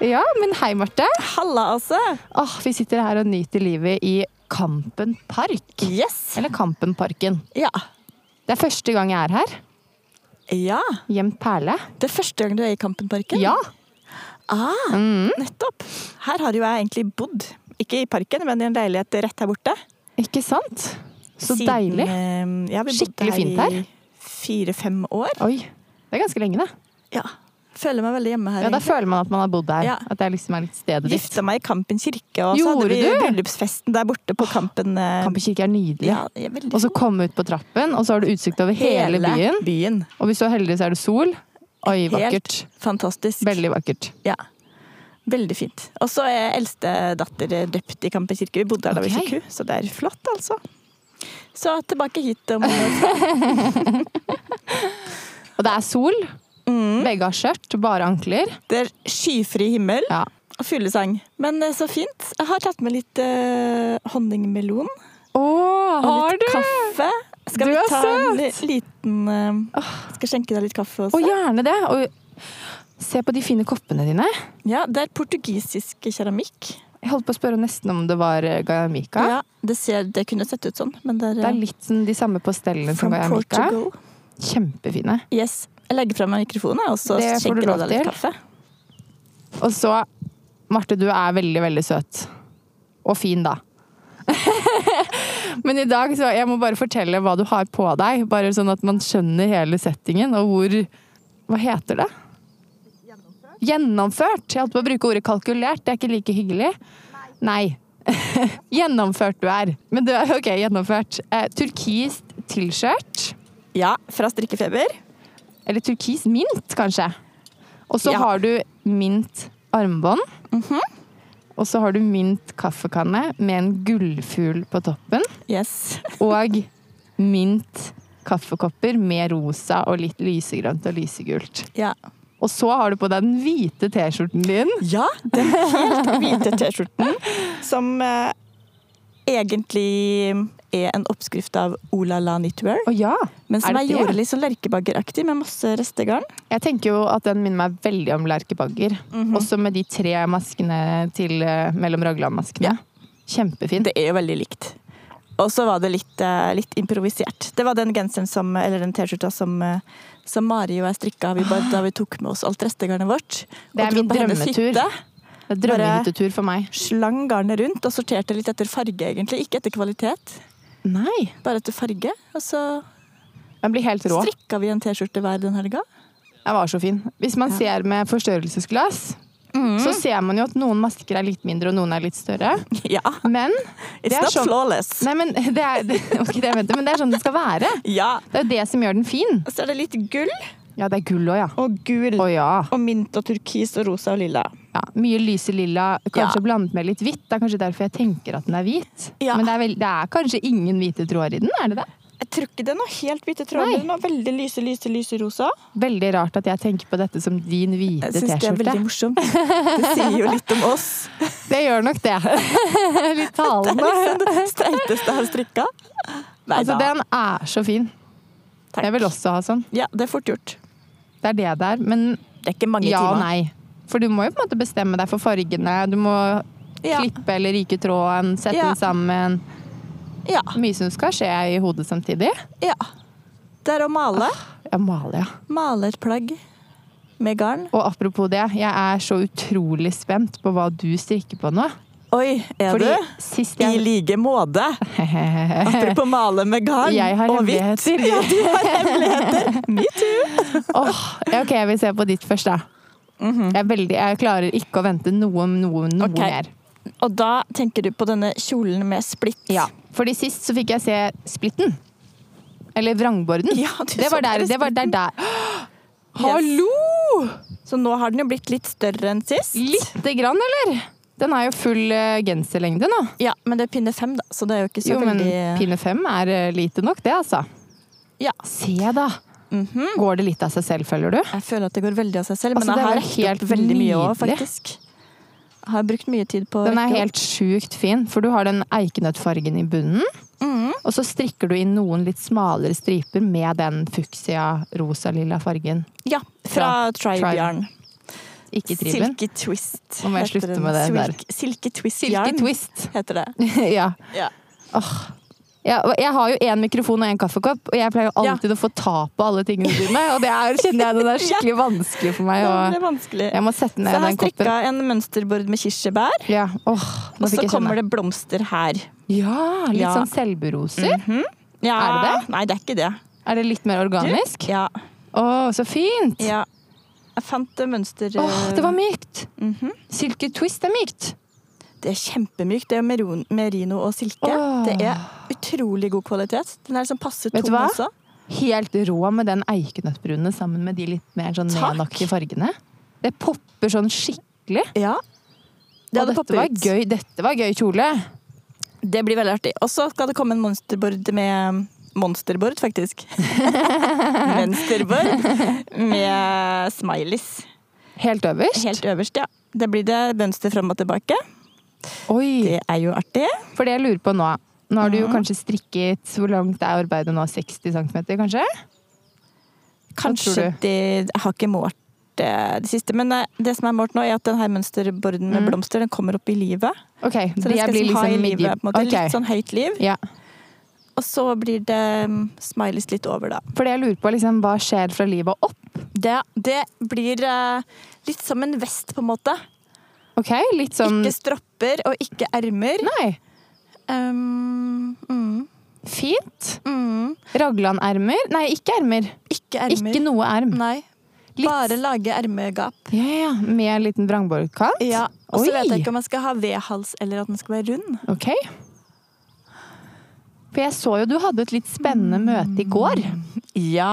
Hei, Marte. Halla, altså. Åh, vi sitter her og nyter livet i Kampen park. Yes. Eller Kampenparken. Ja. Det er første gang jeg er her. ja. Gjemt perle. Det er første gang du er i Kampenparken? Ja. Ah, Nettopp. Her har jo jeg egentlig bodd. Ikke i parken, men i en leilighet rett her borte. Ikke sant? Så Siden, deilig. eh, ja, vi bodde Skikkelig fint her. I fire-fem år. Oi. Det er ganske lenge, det. eh, Ja. Føler meg veldig hjemme her. Ja, Da egentlig. føler man at man har bodd her. Ja. At det liksom er litt stedet ditt. Gifta meg i Kampen kirke, og så Gjorde hadde vi du? bryllupsfesten der borte på Kampen. eh, Kampen kirke er nydelig. Ja, ja, veldig Og så fint. komme ut på trappen, og så har du utsikt over hele, byen. byen. Og hvis du er heldig, så er det sol. Oi, vakkert. Helt fantastisk. Veldig vakkert. Ja. Veldig fint. Og så er eldste datter døpt i Kampen kirke. Vi bodde her da vi Ok. fikk henne, så det er flott, altså. Så tilbake hit om Og det er sol. Begge har skjørt, bare ankler. Mm. Det er skyfri himmel Ja. og fuglesang. Men eh, så fint. Jeg har tatt med litt eh, honningmelon og Å, har litt du? kaffe. Skal Du vi er ta en li- liten eh, Skal skjenke deg litt kaffe også? Og gjerne det. Og se på de fine koppene dine. Ja, det er portugisisk keramikk. Jeg holdt på å spørre nesten om det var eh, Gaiamica. Ja, det, ser, det kunne sett ut sånn, men det er, Det er eh, litt som de samme pastellene som from Gaiamica. Portugal. Kjempefine. Yes. Jeg legger fra meg mikrofonen, og så Det får du skjenker lov jeg deg litt til. kaffe. Og så, Marte, du er veldig, veldig søt. Og fin, da. Men i dag så Jeg må bare fortelle hva du har på deg, bare sånn at man skjønner hele settingen og hvor Hva heter det? Gjennomført. Jeg holdt på å bruke ordet kalkulert. Det er ikke like hyggelig. Nei. gjennomført du er. Men du er OK, gjennomført. Eh, turkist tilskjørt. Ja, fra strikkefeber. Eller turkis mint, kanskje. Og så Ja. Mhm. har du mint armbånd. Og så har du mint kaffekanne med en gullfugl på toppen. Yes. Og mint kaffekopper med rosa og litt lysegrønt og lysegult. Ja. Og så har du på deg den hvite T-skjorten din. den helt hvite T-skjorten som eh, egentlig er en oppskrift av Olala Knitwear. Å ja! Men som er jeg det gjorde det? litt sånn lerkebageraktig med masse restegarn. Jeg tenker jo at den minner meg veldig om lerkebagger. Mhm. Også med de tre maskene til eh, mellom raglan-maskene. Ja. Kjempefint. Det er jo veldig likt. Og så var det litt, eh, litt improvisert. Det var den genseren som, eller den T-skjorta som, eh, som Mari og jeg strikka vi bare, da vi tok med oss alt restegarnet vårt. Det er og dro min på hennes drømmetur. hytte. Det er bare- drømmehyttetur for meg. Slang garnet rundt og sorterte litt etter farge, egentlig. Ikke etter kvalitet, Nei! bare etter farge. Og så Den blir helt rå. strikka vi en T-skjorte hver den helga. Den var så fin. Hvis man ser med forstørrelsesglass, Mm. så ser man jo at noen masker er litt mindre og noen er litt større. Ja. Men It's det er not sånn flawless. Nei, men det er, det, ok, det er- vent, men det er sånn det skal være. Ja. Det er jo det som gjør den fin. Og så er det litt gull Ja, det er gull òg, ja. og gul. Å ja. Og mint og turkis og rosa og lilla. ja. Mye lyse lilla, kanskje Ja. blandet med litt hvitt. Det er kanskje derfor jeg tenker at den er hvit. Ja. Men det er, vel, det er kanskje ingen hvite tråder i den, er det det? Jeg tror ikke det er noe helt hvite tråder. Nei. Det er noe veldig lyse, lyse, lyse rosa. Veldig rart at jeg tenker på dette som din hvite Jeg syns det er veldig T-skjorte. morsomt. Det sier jo litt om oss. Det gjør nok det. litt talende. Liksom det streiteste jeg har strikka. Nei Altså, da. den er så fin. Takk. Jeg vil også ha sånn. Ja, det er fort gjort. Det er det det er. Men Det er ikke mange ja og timer. nei. For du må jo på en måte bestemme deg for fargene. Du må Ja. klippe eller ryke tråden, sette Ja. den sammen. Ja. Mye som skal skje i hodet samtidig. ja. Det er å male. Jeg maler, ja. Male et plagg med garn. Og apropos det, jeg er så utrolig spent på hva du strikker på nå. Oi, er Fordi du? sist I jeg like måte. Apropos male med garn Jeg har og hvitt. hemmeligheter. Ja, du har hemmeligheter. Me too. Mhm. Åh, ja, OK, jeg vil se på ditt først, da. jeg, er veldig, jeg klarer ikke å vente noe, noe, noe Ok. mer. Og da tenker du på denne kjolen med splitt. Ja, fordi sist så fikk jeg se splitten. Eller vrangborden. Ja, du det var så der, bare det var der, der. Hallo! Så nå har den jo blitt litt større enn sist. Lite grann, eller? Den er jo full eh, genserlengde nå. Ja, men det er pinne fem, da, så det er jo ikke så Jo, men veldig pinne fem er eh, lite nok, det, altså. Ja. Se, da. Går det litt av seg selv, føler du? Mhm. Jeg føler at det går veldig av seg selv, men Altså, det jeg har var rekt helt opp veldig mye òg, nydelig. faktisk. Jeg har brukt mye tid på å Den er rekke opp. helt sjukt fin, for du har den eikenøttfargen i bunnen. Mhm. Og så strikker du inn noen litt smalere striper med den fuksia, rosa-lilla fargen. Ja, fra Tribe. Tribe-jarn. Ikke Triben. Silke Twist. Nå må jeg heter slutte den. med det der. Silke, Silke Silke Twist-jarn Twist. heter det. ja. Ja. Ja, og jeg har jo én mikrofon og én kaffekopp, og jeg pleier jo alltid å få ta på alle tingene dine. Og det er, kjenner jeg det er skikkelig vanskelig for meg. Ja, men Det Og er vanskelig. jeg må sette Så ned jeg har eh, den koppen. strikka en mønsterbord med kirsebær, Ja, åh, nå og så fikk jeg kommer kjenne. det blomster her. Ja, litt Ja. Mhm. sånn selvberoser. Ja, Er det Nei, det er ikke det. Er det litt mer organisk? Ja. Å, så fint! ja. Jeg fant det mønster... eh, Åh, det var mykt! Mhm. Silke Twist er mykt. Det er kjempemykt. Det er meron, merino og silke. Åh. Det er utrolig god kvalitet. Den er liksom passe Vet du tung hva? også. Helt rå med den eikenøttbrune sammen med de litt mer sånn Takk. neonaktige fargene. Det popper sånn skikkelig. Ja. Det Og hadde dette poppet var ut. gøy, dette var gøy kjole. Det blir veldig artig. Og så skal det komme en monsterbord med Monsterbord, faktisk. Vensterbord med smileys. Helt øverst. Helt øverst, ja. Det blir det mønster fram og tilbake. Oi! Det er jo artig. For det jeg lurer på nå Nå har du jo kanskje strikket Hvor langt er arbeidet nå? 60 cm, kanskje? Kanskje tror du? de Jeg har ikke målt eh, det siste, men eh, det som er målt nå, er at den her mønsterborden med blomster den kommer opp i livet. OK. Så den jeg Mm. skal blir liksom ha i liksom livet, midje- på en måte. Ok. Litt sånn høyt liv. Ja. Og så blir det mm, smileys litt over, da. For det jeg lurer på, liksom, hva skjer fra livet og opp? Det, det blir eh, litt som en vest, på en måte. OK? Litt sånn Ikke stropper og ikke ermer. Nei. Um, mm, Fint. mm. Raglan-ermer. Nei, ikke ermer. Ikke ermer. Mm. Ikke noe erm. Nei. Litt- Bare lage ermegap. Ja, ja. Med en liten vrangbordkant. Ja. Og Oi. så vet jeg ikke om jeg skal ha V-hals eller at den skal være rund. OK. For jeg så jo du hadde et litt spennende Mm. møte i går. Ja!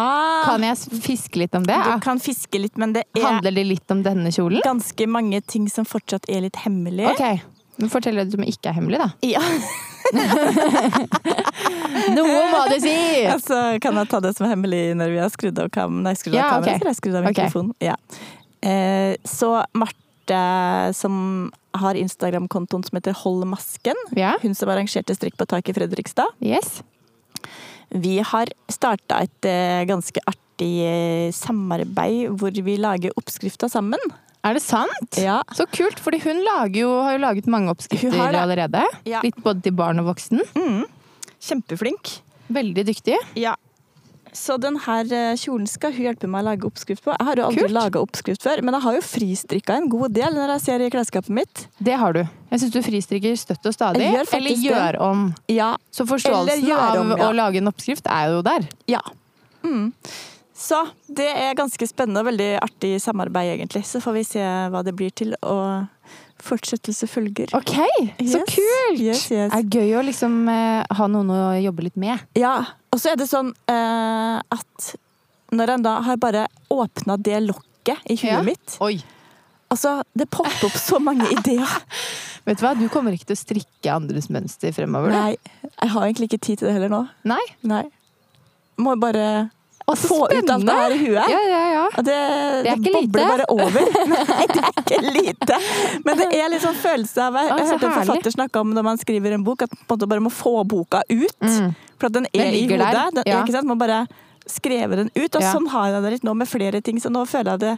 Kan jeg s- fiske litt om det? Du kan fiske litt, men det er Handler det litt om denne kjolen? ganske mange ting som fortsatt er litt hemmelig. OK. Men Fortell det som ikke er hemmelig, da. Ja, Noe må du si! altså, kan jeg ta det som er hemmelig når vi har skrudd av kam... Nei, skrudd av Ja, ok. kameraet, eller skrudd av Ok. mikrofonen. Ja. Eh, så Marte, som har Instagram-kontoen som heter Hold masken, Ja. hun som arrangerte Strikk på tak i Fredrikstad, Yes. vi har starta et eh, ganske artig eh, samarbeid hvor vi lager oppskrifta sammen. Er det sant? Ja. Så kult, fordi hun lager jo, har jo laget mange oppskrifter Hun har det. allerede. Ja. Mm. Litt både til barn og voksen. Kjempeflink. Veldig dyktig. Ja. Så den her eh, kjolen skal hun hjelpe meg å lage oppskrift på. Jeg har jo aldri Kult. laga oppskrift før, men jeg har jo fristrikka en god del når jeg ser i klesskapet mitt. Det har du. Jeg syns du fristrikker støtt og stadig. Jeg gjør faktisk eller gjør det. om. Ja. Så forståelsen Eller gjør om, av ja. å lage en oppskrift er jo der. ja. Mm. Så det er ganske spennende og veldig artig samarbeid, egentlig. Så får vi se hva det blir til, og fortsettelse følger. OK, så Yes. kult! Yes, yes. Er gøy å liksom eh, ha noen å jobbe litt med. Ja, og så er det sånn eh, at når en da har bare åpna det lokket i huet Ja. mitt Oi. Altså, det popper opp så mange ideer. Vet du hva, du kommer ikke til å strikke andres mønster fremover. du. Nei, jeg har egentlig ikke tid til det heller nå. Nei. Nei. Må bare Og så få ut alt spennende. det her i huet. Ja, ja, ja. Og det, Det er ikke bobler lite. bare over. Nei, det er ikke lite. Men det er litt sånn følelse av Jeg, Å, jeg så hørte en herlig. forfatter snakke om når man skriver en bok, at man på en måte bare må få boka ut. Mm. For at den Den er i ligger hodet. der, Den, ja. Ikke sant? Man bare skrevet den ut. Og Ja. sånn har jeg det litt nå med flere ting, så nå føler jeg det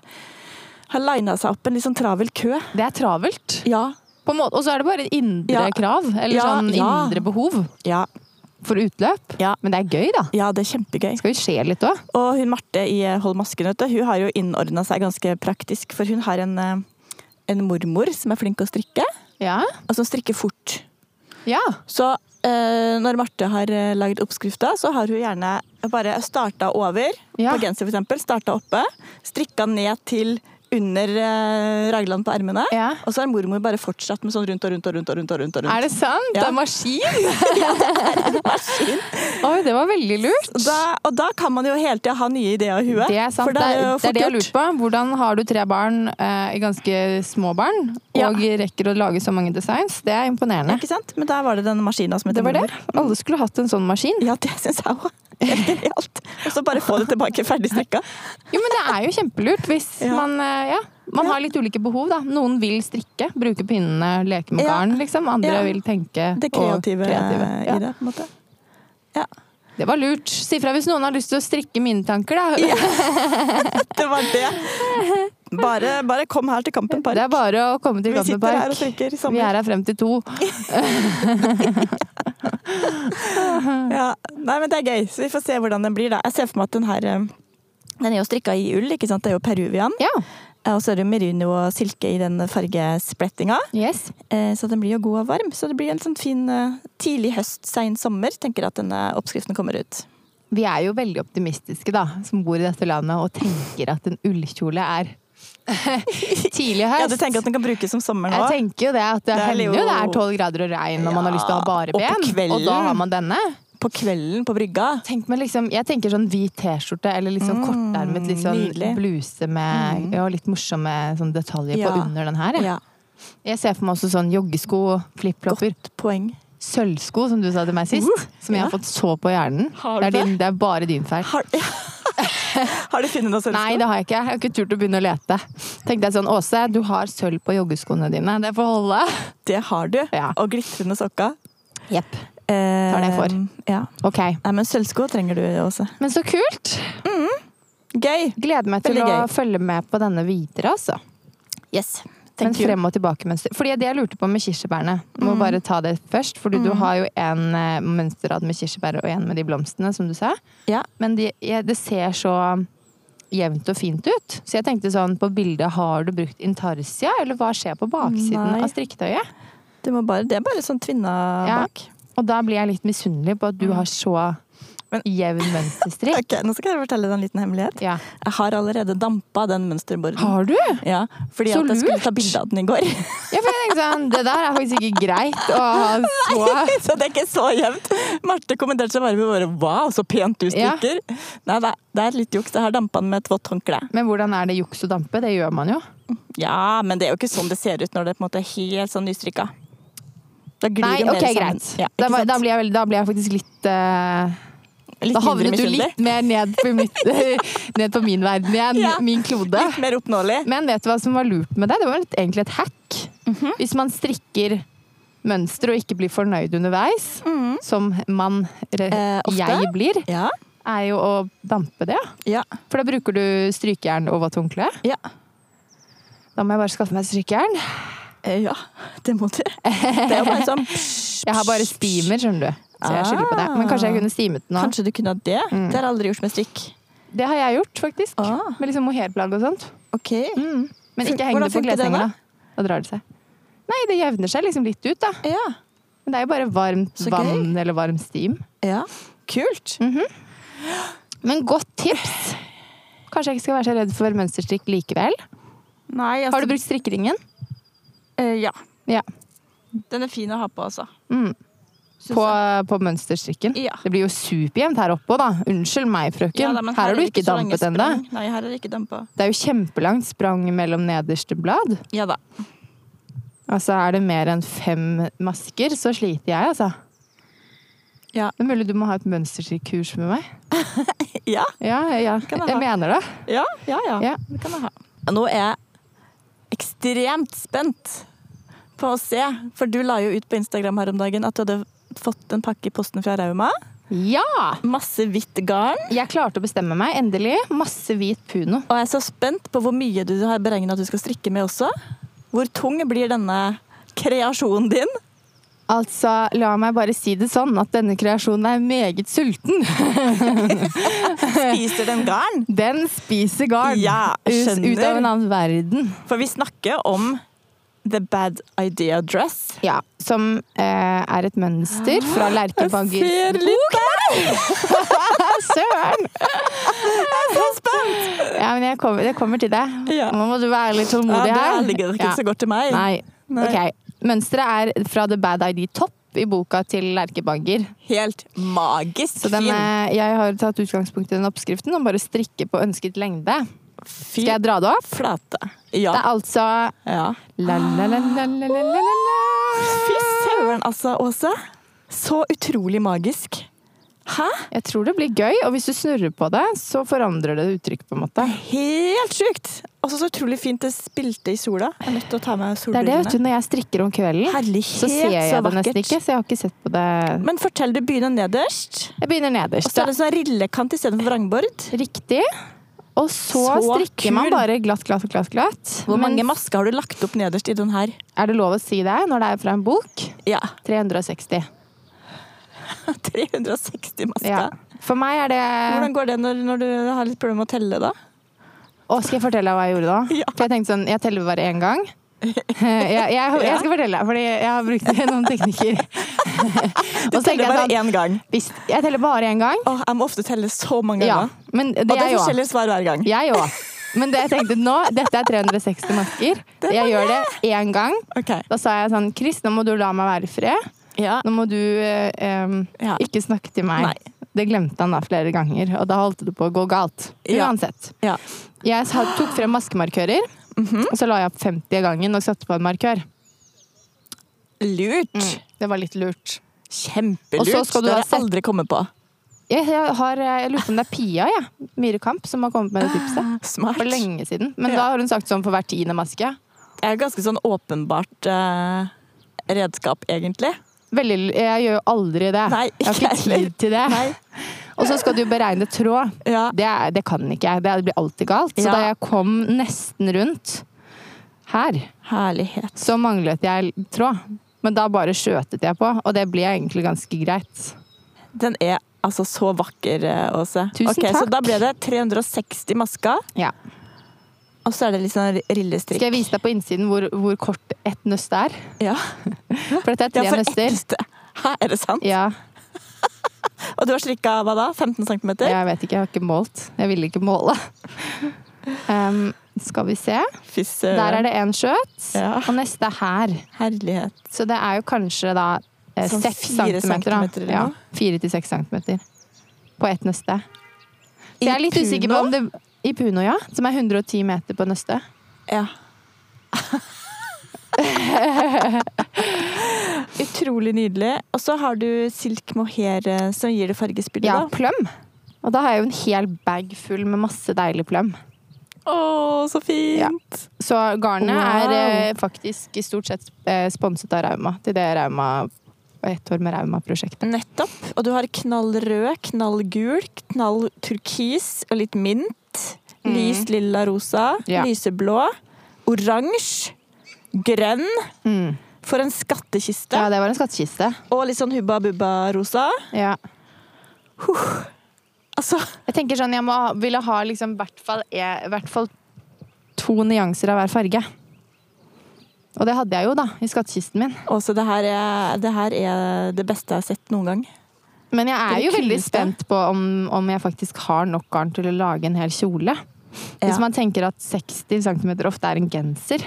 har lina seg opp en litt sånn travel kø. Det er travelt. Ja. På en måte, og så er det bare et indre Ja. krav, eller Ja, sånn ja. indre behov Ja. for utløp. Ja. Men det er gøy, da. ja, det er kjempegøy. Skal vi se litt òg? Og hun Marte i eh, Hold masken, vet du, hun har jo innordna seg ganske praktisk. For hun har en, eh, en mormor som er flink å strikke, Ja. og som strikker fort. ja. Så eh, når Marte har eh, lagd oppskrifta, så har hun gjerne bare starta over. Ja. På genser, for eksempel. Starta oppe. Strikka ned til under eh, raglan på ermene. Ja. Og så har mormor bare fortsatt med sånn rundt og rundt og rundt. og rundt og rundt. Og rundt. Er det sant? Ja. Det er maskin! ja, det er maskin. Oi, det var veldig lurt. Og Da, og da kan man jo hele tida ha nye ideer i huet. Det er sant. For det er jo det, fort det jeg gjort. lurte på. Hvordan har du tre barn, eh, ganske små barn, Ja. og rekker å lage så mange designs? Det er imponerende. Ikke sant? Men der var det den maskina som heter Det var det. mormor. Alle skulle hatt en sånn maskin. Ja, det syns jeg òg. Helt genialt. Og så bare få det tilbake ferdig strikka. Jo, men det er jo kjempelurt hvis Ja. man, eh, ja, man har litt ulike behov, da. Noen vil strikke, bruke pinnene, leke med Ja. garn, liksom. Andre Ja. vil tenke Det og kreative, kreative. Ja. i det, på en måte. Det var lurt. Si fra hvis noen har lyst til å strikke mine tanker, da. Det var det. Bare, bare kom her til Kampen Park. Det er bare å komme til Vi Gamle sitter her og Park. trykker i Vi sommer. er her frem til to. Ja. Nei, men det er gøy, så vi får se hvordan den blir da. Jeg ser for meg at den her eh, den er jo strikka i ull, ikke sant? det er jo peruvian. Ja. Eh, Og så er det merino og silke i den fargesprettinga. Yes. Eh, Så den blir jo god og varm. Så det blir en sånn fin eh, tidlig høst, sein sommer, tenker jeg at denne oppskriften kommer ut. Vi er jo veldig optimistiske, da, som bor i dette landet og tenker at en ullkjole er tidlig høst. Ja, du tenker at den kan brukes om sommeren Jeg òg? tenker jo det at det, Det er hender jo jo- det er tolv grader og regn og man har lyst til å ha bare Ja, og på ben. Og, kvelden. da har man denne. På kvelden på brygga. Tenk meg liksom, jeg tenker sånn hvit T-skjorte eller litt sånn kortermet litt sånn Mm, nydelig. Mm. bluse med ja, litt morsomme sånn detaljer Ja. på under den her. Jeg. Ja, jeg ser for meg også sånn joggesko, flipflopper, godt poeng. sølvsko som du sa til meg sist. som jeg har fått så på hjernen. Har det, er du din, det er bare din feil. Har, har du funnet noe sølvsko? Nei, det har jeg ikke. Jeg har ikke turt å begynne å lete. Tenkte jeg sånn, Åse, du har sølv på joggeskoene dine. Det får holde. Det har du. Ja. Og glitrende sokker. Jepp. Eh, Tar det for. Ja. Ok. Nei, men sølvsko trenger du også. Men så kult! Gøy! Gleder meg til Veldig å gøy. følge med på denne videre, altså. Yes. Men Thank you. Mm. frem og tilbake mønster. Fordi det jeg lurte på med kirsebærene, må bare ta det først, fordi du har jo en eh, mønsterrad med kirsebær og en med de blomstene, som du sa. Ja. Men de, jeg- det ser så jevnt og fint ut. Så jeg tenkte sånn, på bildet, har du brukt intarsia, eller hva skjer på baksiden Nei. av strikketøyet? Det, må bare, det er bare sånn tvinna Ja. bak. Og da blir jeg litt misunnelig på at du har så Mm. Men- jevn mønsterstrikk. Ok, Nå skal jeg fortelle deg en liten hemmelighet. Ja. Jeg har allerede dampa den mønsterborden. Har du? Ja, fordi Så at jeg skulle ta lurt. bilde av den i går. Ja, for jeg tenkte sånn, det der er faktisk ikke greit å ha så så det er ikke så jevnt. Marte kommenterte seg bare med våre Wow, så pent du Ja. strikker. Nei, det er, det er litt juks. Jeg har dampa den med et vått håndkle. Men hvordan er det juks og dampe? Det gjør man jo. Ja, men det er jo ikke sånn det ser ut når det på en måte er helt sånn nystrikka. Da glir Nei, det mer ok, sammen. greit. Ja, da, ikke var- da, sant? blir jeg, vel- da blir jeg faktisk litt eh, Litt Da havnet mindre du misunnelig. litt mer ned på, mitt, ned på min verden igjen. Ja. Min klode. Litt mer oppnåelig. Men vet du hva som var lurt med det? Det var litt, egentlig et hack. Mhm. Hvis man strikker mønster og ikke blir fornøyd underveis, som man, eller Mhm. Eh, ofte. jeg blir, Ja. er jo å dampe det. ja. Ja. For da bruker du strykejern og vått håndkle. Ja. Da må jeg bare skaffe meg strykejern. Eh, ja, det må du. Det er jo bare sånn psh, Jeg har bare steamer, skjønner du. Så jeg skylder på det. Men kanskje jeg kunne steamet den nå. Ah. Mm. Kanskje du kunne ha det? Det har jeg aldri gjort med strikk. Det har jeg gjort, faktisk. Ah. Med liksom mohairplagg og sånt. Ok. Men Fun- ikke heng hvordan det på funker det kleshenga. da? Da? da drar det seg. Nei, det jevner seg liksom litt ut, da. Ja. Men det er jo bare varmt Så gøy. vann eller varm steam. ja. Kult. Mm. Men godt tips! Kanskje jeg ikke skal være så redd for mønsterstrikk likevel. Nei, altså, Har du brukt strikkeringen? Eh, Ja. Ja. Den er fin å ha på, altså. Mm. Synes På, jeg. på mønsterstrikken? Ja. Det blir jo superjevnt her oppe òg, da. Unnskyld meg, frøken. Ja, da, men her, har er du det ikke så lange dampet ennå. sprang. Nei, her er det ikke dampa. Det er jo kjempelangt sprang mellom nederste blad. Ja da. Altså, er det mer enn fem masker, så sliter jeg, altså. Ja. Det er mulig du må ha et mønsterstrikkurs med meg. Ja, Ja, ja. Kan jeg Jeg ha? mener det. ja, ja. ja. Ja. Det kan jeg ha. Nå er jeg ekstremt spent på å se, for du la jo ut på Instagram her om dagen at du hadde fått en pakke i posten fra Rauma. Ja! Masse hvitt garn. Jeg klarte å bestemme meg, endelig. Masse hvit puno. Og jeg er så spent på hvor mye du har beregna at du skal strikke med også. Hvor tung blir denne kreasjonen din? Altså, la meg bare si det sånn at denne kreasjonen er meget sulten. Spiser den garn? Den spiser garn. Ja, Ut skjønner. ut av en annen verden. For vi snakker om The Bad Idea Dress. Ja, som eh, er et mønster Ah, fra Lerkebangers litt der! Søren! Jeg er så spent! Ja, men jeg kommer, det kommer til deg. Ja. Nå må du være litt Ja, tålmodig her. der ligger det ikke Ja. så godt til meg. Nei. Nei. Ok. Mønsteret er fra The Bad ID Topp i boka til Lerkebanger. Helt magisk Så den fin. er, jeg har tatt utgangspunkt i den oppskriften om bare strikke på ønsket lengde. fin Skal jeg dra det opp? flate. Det er Ja. altså ja. la, la, la, la, la, la, la, la. Fy søren, altså, Åse. Så utrolig magisk. Hæ? Jeg tror det blir gøy, og hvis du snurrer på det, så forandrer det uttrykk på en måte. Helt sjukt! Og så utrolig fint det spilte i sola. Jeg er nødt til å ta med Det er det, solbrillene. vet du, når jeg strikker om kvelden, Herlighet, så ser jeg det nesten ikke, så jeg har ikke sett på det. Men fortell, du begynner nederst. Jeg begynner Og nederst. så er det sånn rillekant istedenfor vrangbord. Riktig. Og så, Så strikker man kul. bare glatt, glatt, glatt. glatt. Hvor mange Mens- masker har du lagt opp nederst i den her? Er det lov å si det når det er fra en bok? Ja, 360. 360 masker. Ja. For meg er det Hvordan går det når, når du har litt problemer med å telle, da? Å, skal jeg fortelle deg hva jeg gjorde da? Ja. For jeg tenkte sånn, jeg teller bare én gang. jeg, jeg, jeg skal fortelle deg, fordi jeg har brukt noen teknikker. Og så Teller tenker jeg bare sånn, én gang. hvis, jeg teller bare én gang. Åh, jeg må ofte telle så mange Ja, ganger. men det Og det er er jo forskjellige svar hver gang. Jeg òg. Men det jeg tenkte nå, dette er 360 masker. Det er Jeg gjør det én gang. Ok. Da sa jeg sånn Chris, nå må du la meg være i fred. Ja. Nå må du eh, em, Ja. ikke snakke til meg. Nei. Det glemte han da flere ganger, og da holdt det på å gå galt. Ja. Uansett. ja. Jeg sa- tok frem maskemarkører, Mhm. og så la jeg opp 50 av gangen og satte på en markør. Lurt. Det var litt lurt. Mm. Og Kjempelurt. så skal du det ha har jeg sett- aldri kommet på. Jeg, jeg, har, jeg lurer på om det er Pia jeg, Myhrekamp som har kommet med det tipset. Smart. Ah, For lenge siden. Men Ja. da har hun sagt sånn for hver tiende maske. Det er jo ganske sånn åpenbart eh, redskap, egentlig. Veldig, jeg gjør jo aldri det. Nei, jeg har ikke ikke tid heller. til det. Nei. Og så skal du beregne tråd. Ja. Det, er, det kan ikke jeg. Det blir alltid galt. Så Ja. da jeg kom nesten rundt her, Herlighet. så manglet jeg tråd. Men da bare skjøtet jeg på, og det ble egentlig ganske greit. Den er altså så vakker, eh, Åse. Tusen Ok, Så takk. da ble det 360 masker, Ja. og så er det litt sånn rillestrikk. Skal jeg vise deg på innsiden hvor, hvor kort ett nøst er? Ja, For dette er ja tre for nøster. ett. Hæ, er det sant? Ja, Og du har strikka hva da? 15 cm? jeg vet ikke. Jeg har ikke målt. Jeg ville ikke måle. Um, skal vi se. Fy søren. Der er det én skjøt, Ja. og neste er her. Herlighet. Så det er jo kanskje da eh, Sånn seks fire centimeter. centimeter da. eller Ja, noe? fire til seks centimeter på ett nøste. Så jeg er litt I usikker på Puno? om det I Puno, ja. Som er 110 meter på nøstet. Ja. Utrolig nydelig. Og så har du silk mohair eh, som gir det fargespillet. Ja, da. pløm. Og da har jeg jo en hel bag full med masse deilig pløm. Å, så fint! Ja. Så garnet Wow. er eh, faktisk i stort sett eh, sponset av Rauma. Til det Rauma Ett år med Rauma-prosjektet. Nettopp. Og du har knallrød, knallgul, knall turkis og litt mint. Lys lilla rosa, Mm. Ja. lyseblå, oransje, grønn. Mm. For en skattkiste. Ja, det var en skattkiste. Og litt sånn hubba bubba rosa. Ja. Altså, Jeg tenker sånn, jeg må, ha- ville ha liksom hvert fall, eh, hvert fall to nyanser av hver farge. Og det hadde jeg jo da, i skattkisten min. Åse, det her, er, det her er det beste jeg har sett noen gang. Men jeg er Det jo veldig kuleste. spent på om, om jeg faktisk har nok garn til å lage en hel kjole. Ja. Hvis man tenker at 60 cm ofte er en genser,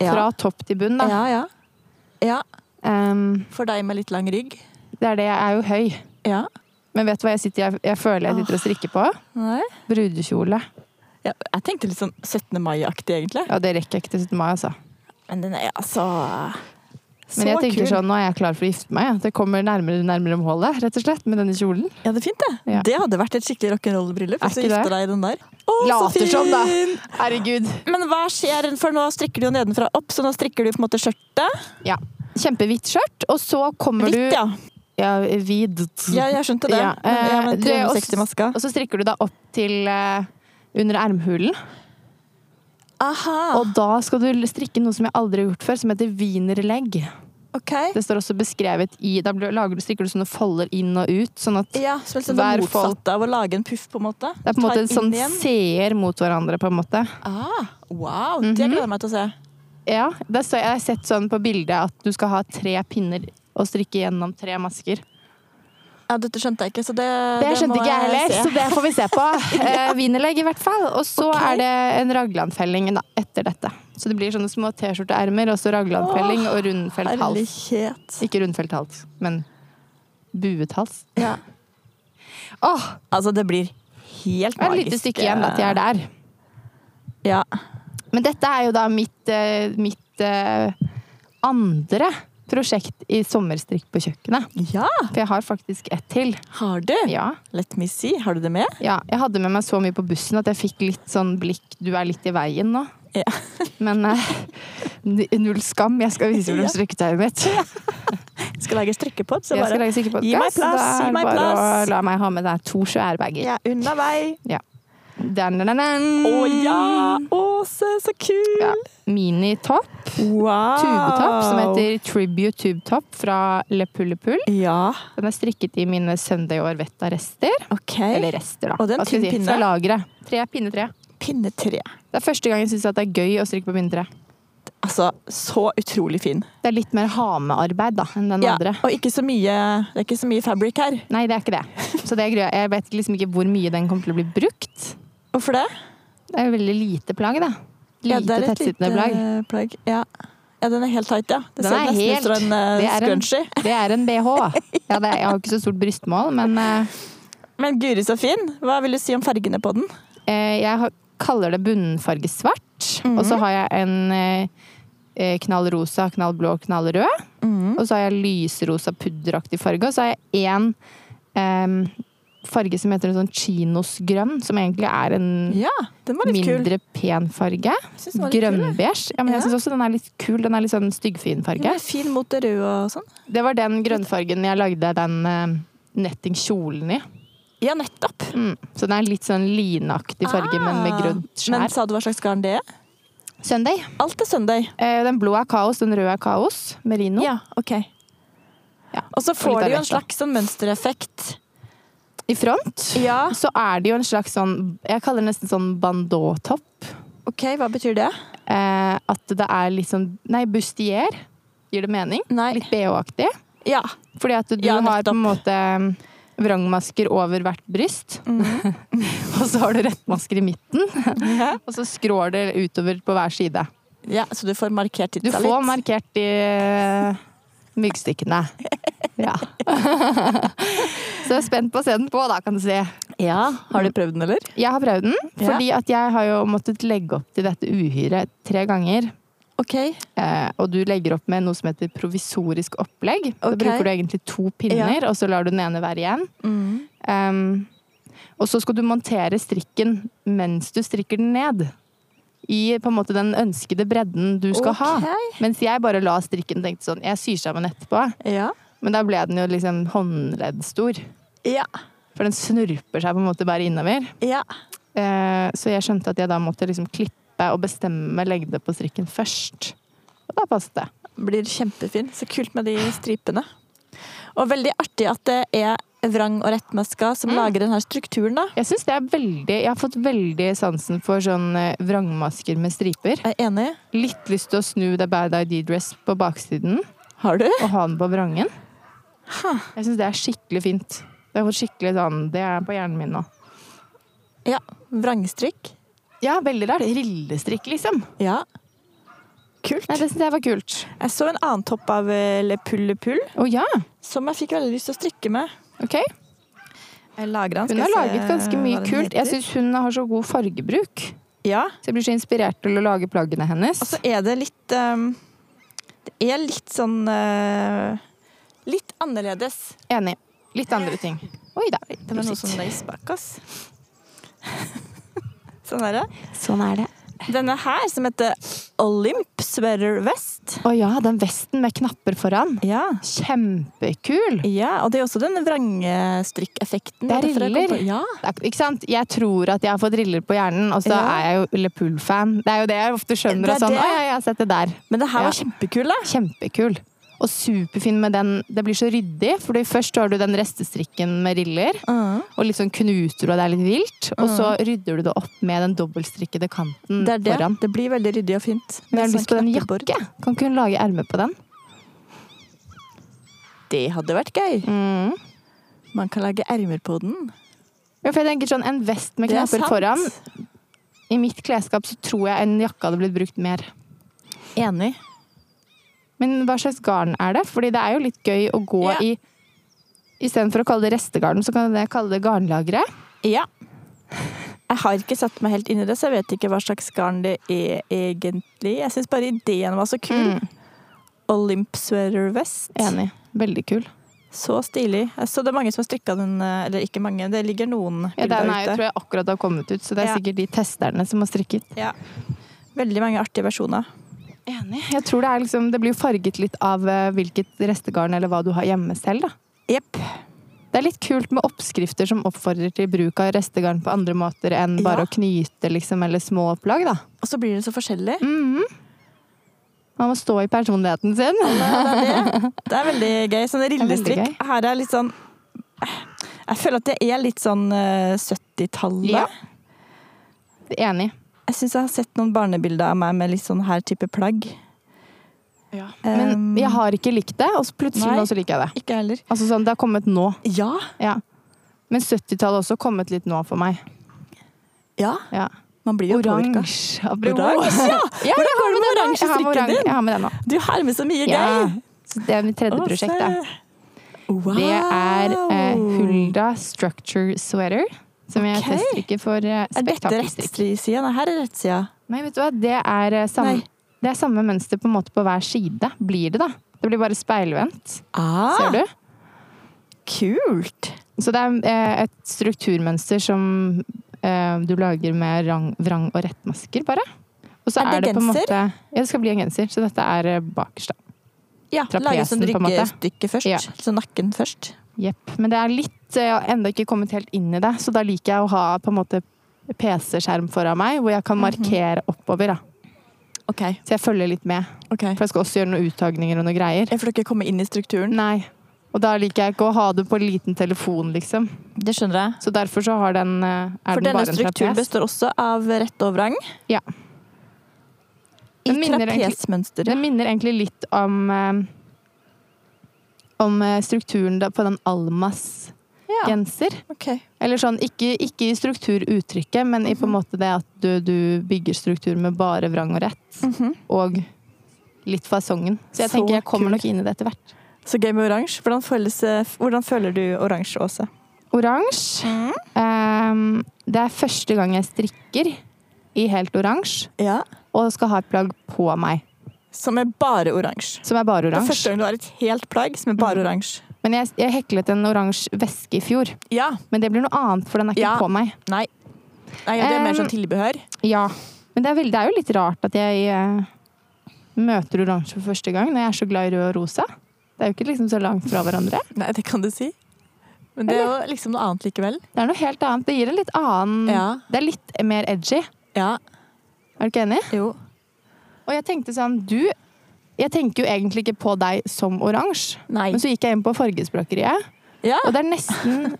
fra topp til bunn da. Ja, ja. ja. Ehm, For deg med litt lang rygg. det er det, jeg er jo høy. Ja. Men vet du hva jeg, sitter, jeg, jeg føler jeg sitter og strikker på? Nei. Brudekjole. Ja, jeg tenkte litt sånn 17. mai-aktig, egentlig. Ja, det rekker jeg ikke til 17. mai, altså. Men den er altså så Men jeg tenker kul. sånn, nå er jeg klar for å gifte meg. ja. Det kommer nærmere nærmere om hålet, rett og slett, med denne kjolen. Ja, det er fint, det. Ja. Det hadde vært et skikkelig rock'n'roll-bryllup. Er hvis du ikke det? gifter deg i den der. Å, Later som, da. Herregud. Men hva skjer? For nå strikker du jo nedenfra opp, så nå strikker du på en måte skjørtet. Ja. Kjempehvitt skjørt, og så kommer Hvitt, du ja. Ja, hvid. ja. Jeg skjønte det. Ja, Men, ja, eh, men det er også- 360 masker. Og så strikker du da opp til eh, under ermhulen. Aha, Og da skal du strikke noe som jeg aldri har gjort før, som heter wienerlegg. ok. Det står også beskrevet i Da blir- lager du, strikker du sånne folder inn og ut, sånn at Ja, som er sånn det Hver fold- motsatte av å lage en puff, på en måte. det er på en måte Ta inn sånn igjen. seer mot hverandre, på en måte. Ah, wow, det Mhm. gleder jeg meg til å se. Ja, det står, Jeg har sett sånn på bildet at du skal ha tre pinner og strikke gjennom tre masker. Ja, dette skjønte jeg ikke, så det Det det skjønte må ikke jeg heller, se. så det får vi se på. Eh, Wienerlegg i hvert fall. Og så Ok. er det en raglanfelling da, etter dette. Så det blir sånne små T-skjorteermer, og så raglanfelling og rundfelt hals. Herlighet. Ikke rundfelt hals, men buet hals. Ja. Åh, Altså, det blir helt det er magisk. eh, et lite stykke igjen da, til jeg er der. Ja. Men dette er jo da mitt, eh, mitt eh, andre prosjekt i sommerstrikk på kjøkkenet. ja, For jeg har faktisk ett til. har du? Ja. Let me see, har du det med? Ja, jeg hadde med meg så mye på bussen at jeg fikk litt sånn blikk Du er litt i veien nå. Ja. Men eh, n- null skam. Jeg skal vise Ja. frem strikketøyet mitt. Skal lage strikkepod, så jeg bare skal lage sikker på gi meg plass, Da gi er det meg bare å plass. la meg ha med deg to svære bager. Ja, unna vei. Ja. Dan-dan-dan. Å ja! Åse, så kul! Mm. Ja. Minitopp. Wow! Tubetopp som heter Tribute Tube Top fra Le Pulle Pull. Ja, Den er strikket i mine Sunday Orvetta-rester. OK. Eller rester, da. Og det er en Hva skal jeg tynn pinne. Fra lageret. Tre, pinnetre. Pinne tre. Det er første gang jeg syns det er gøy å strikke på pinnetre. Altså, så utrolig fin. Det er litt mer hamearbeid da, enn den Ja, andre. og ikke så mye, det er ikke så mye fabric her. Nei, det er ikke det. Så det er greia. Jeg vet liksom ikke hvor mye den kommer til å bli brukt. Hvorfor det? Det er jo veldig lite plagg, da. Ja, Lite det er et tettsittende lite plagg. plagg. Ja. ja, den er helt tight, ja. Det Den ser er nesten helt- ut som en det eh, er en- scrunchie. Det er en BH. Ja, det, jeg har ikke så stort brystmål, men eh, Men guri så fin! Hva vil du si om fargene på den? Eh, Jeg har- kaller det bunnfarge svart. Mhm. Og så har jeg en eh, eh, knallrosa, knallblå, knallrød. Mhm. Og så har jeg lysrosa pudderaktig farge. Og så har jeg én em, farge som heter en sånn chinosgrønn, som egentlig er en Ja, den var litt kul. mindre pen farge. Jeg synes den var litt kul, jeg. Grønnbeige. Ja, men jeg Ja. syns også den er litt kul. Den er litt sånn styggfin Den farge. er fin mot det røde og sånn. Det var den grønnfargen jeg lagde den eh, nettingkjolen i. Ja, nettopp. Mm. Så den er litt sånn lineaktig farge, men med Ah. grønt Men skjær. sa du hva slags garn det er? Sunday. Alt er søndag. Eh, Den blå er kaos, den røde er kaos. Merino. Ja, ok. Ja, Og så og får litt det jo en arbeidsdag. slags sånn mønstereffekt. I front Ja, så er det jo en slags sånn Jeg kaller det nesten sånn bandåtopp. ok, hva betyr det? Eh, at det er litt sånn Nei, bustier. Gir det mening? Nei. Litt BH-aktig. Ja. Fordi at du Ja, har på en nettopp. måte eh, vrangmasker over hvert bryst. og så har du rettmasker i midten. Og så skrår det utover på hver side. ja, så du får markert Du titsa litt. får markert de eh, myggstykkene. Ja. så jeg er spent på å se den på, da, kan du si. Ja, har du prøvd den, eller? Jeg har prøvd den, Ja. fordi at jeg har jo måttet legge opp til dette uhyret tre ganger. Ok. Eh, og du legger opp med noe som heter provisorisk opplegg. Da Ok. bruker du egentlig to pinner, og så lar du den ene være igjen. Mm. Em, Ehm, og så skal du montere strikken mens du strikker den ned. I på en måte den ønskede bredden du skal ha. Ok. Mens jeg bare la strikken tenkte sånn, jeg syr sammen etterpå. Ja. Men da ble den jo liksom håndleddstor. Ja. For den snurper seg på en måte bare innover. Ja. Eh, Så jeg skjønte at jeg da måtte liksom klippe og bestemme lengde på strikken først. Og da passet det. Blir kjempefin. Så kult med de stripene. Og veldig artig at det er vrang og rettmaska som Mm. lager denne strukturen, da. Jeg synes det er veldig, jeg har fått veldig sansen for sånn eh, vrangmasker med striper. Jeg er enig. Litt lyst til å snu The Bad ID-dress på baksiden Har du? og ha den på vrangen. Jeg synes det er skikkelig fint. Det har fått skikkelig sånn, det er på hjernen min nå. Ja. Vrangstrikk. Ja, veldig rart. Rillestrikk, liksom. Ja. Kult. Nei, det synes jeg var kult. Jeg så en annen topp av eh, Le Pulle Pull, Å ja, som jeg fikk veldig lyst til å strikke med. ok. Jeg lager Hun har laget ganske mye kult. Jeg synes hun har så god fargebruk. Ja, Så jeg blir så inspirert til å lage plaggene hennes. og så er det litt ehm, Det er litt sånn eh, Litt annerledes. Enig. Litt andre ting. Oi da. Det var noe sånn løs bak oss. sånn er det. Sånn er det. Denne her, som heter Olymp Sweater Vest. Å ja, den vesten med knapper foran. Ja. Kjempekul! ja. Og det er også den vrangestrikkeffekten. Det er derfor jeg kom riller. på- Ja. Det er- Ikke sant? Jeg tror at jeg har fått riller på hjernen, og så Ja. er jeg jo Le Pool-fan. Det er jo det jeg ofte skjønner. Det er av sånn, det. Å, ja, jeg har sett det der. Men det her Ja. var kjempekul, da. Kjempekul. Og superfin med den. Det blir så ryddig, for først har du den restestrikken med riller, og litt sånn knuter, og det er litt vilt. Og så rydder du det opp med den dobbeltstrikkede kanten Mm. Det er det. foran. Det blir veldig ryddig og fint. Men jeg har Med lyst sånn på den knappebord. jakke. Kan ikke hun lage erme på den? Det hadde vært gøy. Mm. Man kan lage ermer på den. Ja, for jeg tenker sånn, En vest med Det er knapper sant. foran. I mitt klesskap så tror jeg en jakke hadde blitt brukt mer. Enig. Men hva slags garn er det? Fordi det er jo litt gøy å gå Ja. i Istedenfor å kalle det restegarn, så kan jeg kalle det garnlageret. Ja. Jeg har ikke satt meg helt inn i det, så jeg vet ikke hva slags garn det er egentlig. Jeg syns bare ideen var så kul. Olymp sweater vest. Mm. Enig. Veldig kul. Så stilig. Jeg så det er mange som har strikka den, eh, eller ikke mange, det ligger noen Ja, bilder den er jo, ute. tror jeg akkurat har kommet ut, så det er Ja. sikkert de testerne som har strikket. Ja. Veldig mange artige versjoner. Enig. Jeg tror det, er liksom, det blir jo farget litt av eh, hvilket restegarn eller hva du har hjemme selv. Da. Jepp. Det Det er litt kult med oppskrifter som oppfordrer til bruk av restegarn på andre måter enn bare Ja. å knyte liksom, eller små opplag, da. Mhm. Og så blir det så forskjellig. Man må stå i personligheten sin. Ja, det, er det. det er veldig gøy. Sånn Det er veldig rillestrikk her er litt sånn Jeg føler at det er litt sånn eh, 70-tallet. Ja. Enig. Jeg syns jeg har sett noen barnebilder av meg med litt sånn her type plagg. Men Um, jeg har ikke likt det, og så plutselig Nei. nå så liker jeg det. Ikke jeg heller. Altså sånn, Det har kommet nå. Ja. Ja. Men 70-tallet har også kommet litt nå for meg. Ja. Ja. Man blir jo påvirka. Oransje. apropos. Oransje, ja. Ja, jeg Hvordan går det med den har med oransje strikken oransje- din? Jeg har med den nå. Du har med så mye Ja. gøy! Så det er mitt tredje Å, prosjekt. da. se. Wow. Det er eh, Hulda Structure Sweater. Som jeg Ok. teststrikker for eh, Er dette spektakelstrikk. rettssida? Nei, her er rettsida. Nei, vet du hva? Det er, eh, samme, Nei. det er samme mønster på en måte på hver side, blir det da. Det blir bare speilvendt, Ah, ser du. Kult! Så det er eh, et strukturmønster som eh, du lager med rang, vrang og rettmasker, bare. Og så Er er det det, på en genser? måte Ja, det skal bli en genser. Så dette er eh, bakerst, da. Ja, Lage sånn Trapesen, på en måte. ryggestykke først. Ja. Så nakken først. Jepp. Men det er litt eh, Jeg har ennå ikke kommet helt inn i det, så da liker jeg å ha på en måte PC-skjerm foran meg, hvor jeg Mhm. kan markere oppover, da. OK. Så jeg følger litt med. ok. For jeg skal også gjøre noen uttagninger og noen greier. Jeg får dere komme inn i strukturen. Nei. Og da liker jeg ikke å ha det på liten telefon, liksom. Det skjønner jeg. Så derfor så har den eh, Er For den denne bare en strukturen trapes. består også av rett og vrang. Ja. I Den minner egentlig- trapesmønster. Den minner egentlig litt om eh, om eh, strukturen da på den Almas-genser. Ja, ok. Eller sånn, ikke, ikke i strukturuttrykket, men i på en Mhm. måte det at du, du bygger struktur med bare vrang og rett. Mhm. Og litt fasongen. Så jeg Så tenker jeg kommer kult. nok inn i det etter hvert. Så gøy med oransje. Hvordan, føles, eh, hvordan føler du oransje, Åse? Oransje. Ehm, det er første gang jeg strikker i helt oransje, Ja. og skal ha et plagg på meg Som er bare oransje. som er bare Det er oransje. første gang du har et helt plagg som er Mm. bare oransje. Men jeg, jeg heklet en oransje veske i fjor, Ja. men det blir noe annet, for den er ikke Ja. på meg. Nei. Nei, ja, det er mer Um, sånn tilbehør. Ja, men det er, veldig, det er jo litt rart at jeg eh, møter oransje for første gang når jeg er så glad i rød og rosa. Det er jo ikke liksom så langt fra hverandre. Nei, det kan du si. Men det er jo liksom noe annet likevel. Det er noe helt annet. Det gir en litt annen Ja. Det er litt mer edgy. Ja. Er du ikke enig? Jo. Og jeg tenkte sånn Du Jeg tenker jo egentlig ikke på deg som oransje, Nei. men så gikk jeg inn på Fargespråkeriet, Ja, og det er nesten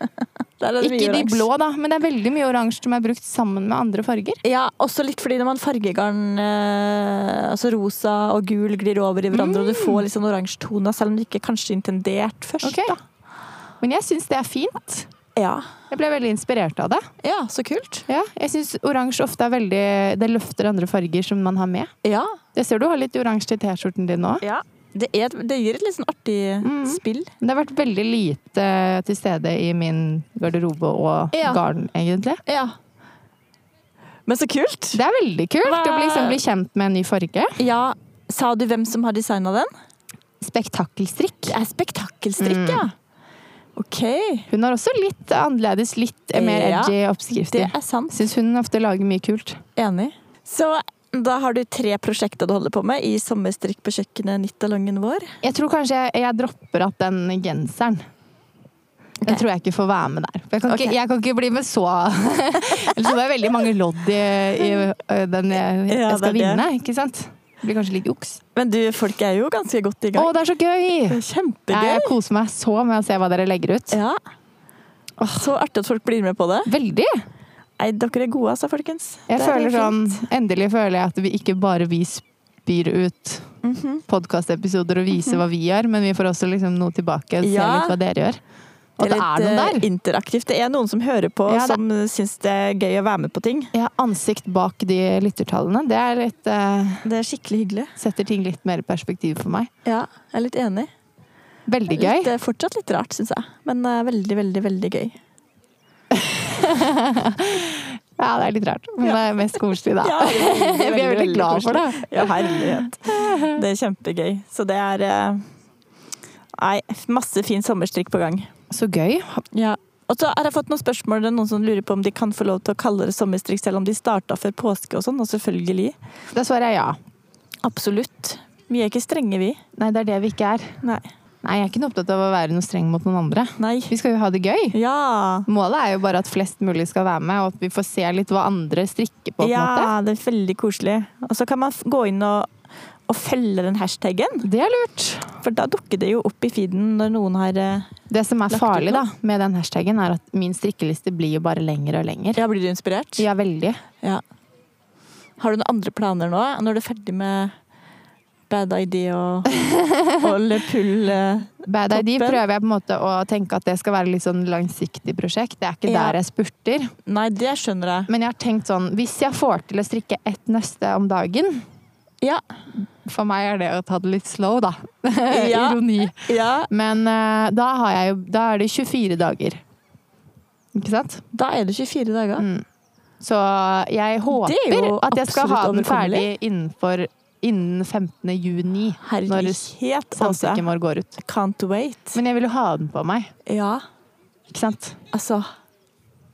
der er det Ikke mye de oransje. blå, da, men det er veldig mye oransje som er brukt sammen med andre farger. Ja, også litt fordi når man fargegarn eh, Altså rosa og gul glir over i hverandre, og du får litt sånn oransje toner, selv om det ikke er kanskje intendert først. Ok. Men jeg syns det er fint. Ja. Jeg ble veldig inspirert av det. ja, så kult. Ja, jeg syns oransje ofte er veldig Det løfter andre farger som man har med. Ja. Jeg ser du har litt oransje til T-skjorten din nå. ja. Det, er, et- det gir et litt sånn artig spill. Men det har vært veldig lite eh, til stede i min garderobe og Ja. garn, egentlig. Ja. Men så kult! Det er veldig kult å Hva- bli, liksom, bli kjent med en ny farge. Ja, sa du hvem som har designa den? Spektakkelstrikk. Det er spektakkelstrikk, ja. Mm. OK. Hun har også litt annerledes, litt eh, mer Ja. edgy Det oppskrifter. er sant. Syns hun ofte lager mye kult. Enig. Så da har du tre prosjekter du holder på med i Sommerstrikk på kjøkkenet, nittalongen vår. Jeg tror kanskje jeg, jeg dropper at den genseren Den Ok. tror jeg ikke får være med der. For jeg kan, Ok. ikke, jeg kan ikke bli med så Ellers så er det veldig mange lodd i, i ø, den jeg, Ja, jeg skal det er det. vinne, ikke sant? Det blir kanskje litt juks. Men du, folk er jo ganske godt i Å, gang. det er så gøy! Det er kjempegøy. Jeg koser meg så med å se hva dere legger ut. Ja. Så artig at folk blir med på det. Veldig! Nei, dere er gode, altså, folkens. Jeg Det er føler sånn, fint. Endelig føler jeg at vi ikke bare vi spyr ut Mhm. podkastepisoder og viser hva vi gjør, men vi får også liksom noe tilbake og ser Ja. litt hva dere gjør. Og det er litt, noen eh, der. Interaktivt. Det er noen som hører på, Ja, det- som syns det er gøy å være med på ting. Ja, ansikt bak de lyttertallene. Det er litt, eh, Det er skikkelig hyggelig. setter ting litt mer i perspektiv for meg. Ja, jeg er litt enig. Veldig gøy. Litt, eh, fortsatt litt rart, syns jeg. Men eh, veldig, veldig, veldig gøy. Ja, det er litt rart, men det er mest koselig, da. Ja, det er veldig, Vi er veldig glad for koselig. det. Ja, herlighet. Det er kjempegøy. Så det er eh, Nei, masse fin sommerstrikk på gang. Så gøy. Ja. Og så har jeg fått noen spørsmål. Det er noen som lurer på om de kan få lov til å kalle det sommerstrikk selv om de starta før påske og sånn, og selvfølgelig. Da svarer jeg ja. Absolutt. Vi er ikke strenge, vi. Nei, det er det vi ikke er. Nei. Nei, jeg er ikke noe opptatt av å være noe streng mot noen andre. Nei. Vi skal jo ha det gøy. Ja. Målet er jo bare at flest mulig skal være med, og at vi får se litt hva andre strikker på. på en Ja, det er veldig koselig. Og så kan man f- gå inn og, og følge den hashtaggen, måte. Det er lurt. for da dukker det jo opp i feeden når noen har eh, Det som er Lagt ut farlig nå. da, med den hashtaggen, er at min strikkeliste blir jo bare lengre og lenger. Ja, blir du inspirert? Ja, veldig. Ja. Har du noen andre planer nå? Når du er ferdig med Bad Idea og, og Le Pull eh, Bad ID Toppen. prøver jeg på en måte å tenke at det skal være litt sånn langsiktig prosjekt. Det er ikke Ja. der jeg spurter. Nei, det skjønner jeg. Men jeg har tenkt sånn, hvis jeg får til å strikke ett nøste om dagen, Ja. for meg er det å ta det litt slow da. eh, Ja. Ironi. ja. Men eh, da, har jeg jo, da er det 24 dager. Ikke sant? Da er det 24 dager. Så jeg håper jo at jeg skal ha absolutt den ferdig innenfor, innen 15. juni. Når Herlighet, Åse. samtykken vår går ut. Can't wait. Men jeg vil jo ha den på meg. Ja, Ikke sant? Eh, altså.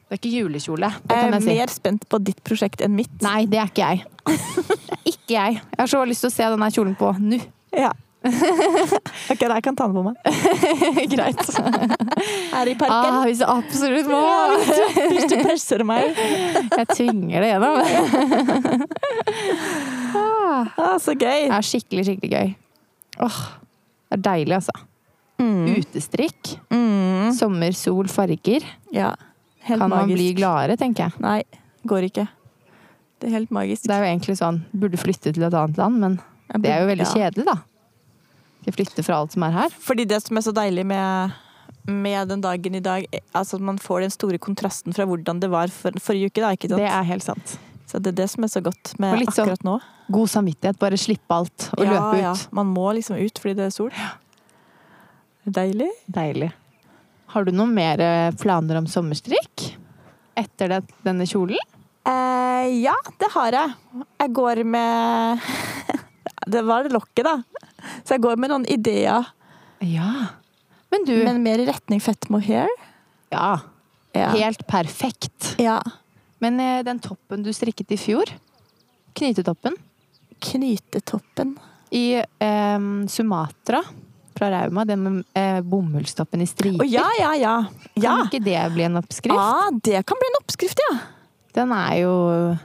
Det er ikke julekjole. Det Jeg kan er jeg si. mer spent på ditt prosjekt enn mitt. Nei, det er ikke jeg. Det er Ikke jeg. Jeg har så lyst til å se denne kjolen på nå. Ja. ok, da jeg kan ta den på meg. Greit. Her i parken. Ah, hvis jeg absolutt må! Ja, hvis, du, hvis du presser meg. Jeg tvinger det gjennom. Ah, så gøy. Det er skikkelig, skikkelig gøy. Åh, Det er deilig, altså. Utestrikk, Mm. sommer, sol, farger. Ja. Helt Kan man magisk. bli gladere, tenker jeg. Nei, går ikke. Det er helt magisk. Det er jo egentlig sånn Burde flytte til et annet land, men det er jo veldig Ja. kjedelig, da. Skal jeg flytte fra alt som er her? Fordi det som er så deilig med, med den dagen i dag, er- altså at man får den store kontrasten fra hvordan det var for, forrige uke. Da, ikke sant? Det er helt sant. Så det er det som er så godt med Og litt sånn- akkurat nå. God samvittighet. Bare slippe alt og Ja, løpe ut. ja. Man må liksom ut fordi det er sol. Deilig. Deilig. Har du noen mer eh, planer om sommerstrikk? Etter det, denne kjolen? Eh, ja, det har jeg. Jeg går med Det var lokket, da. Så jeg går med noen ideer, Ja. Men du men mer i retning fett mohair. Ja. Ja. Helt perfekt. ja. Men eh, den toppen du strikket i fjor, knytetoppen, Knytetoppen. i eh, Sumatra fra Rauma, den med eh, bomullstoppen i Å striper ja, ja, ja. ja. Kan ikke det bli en oppskrift? Ah, det kan bli en oppskrift, ja. Den er jo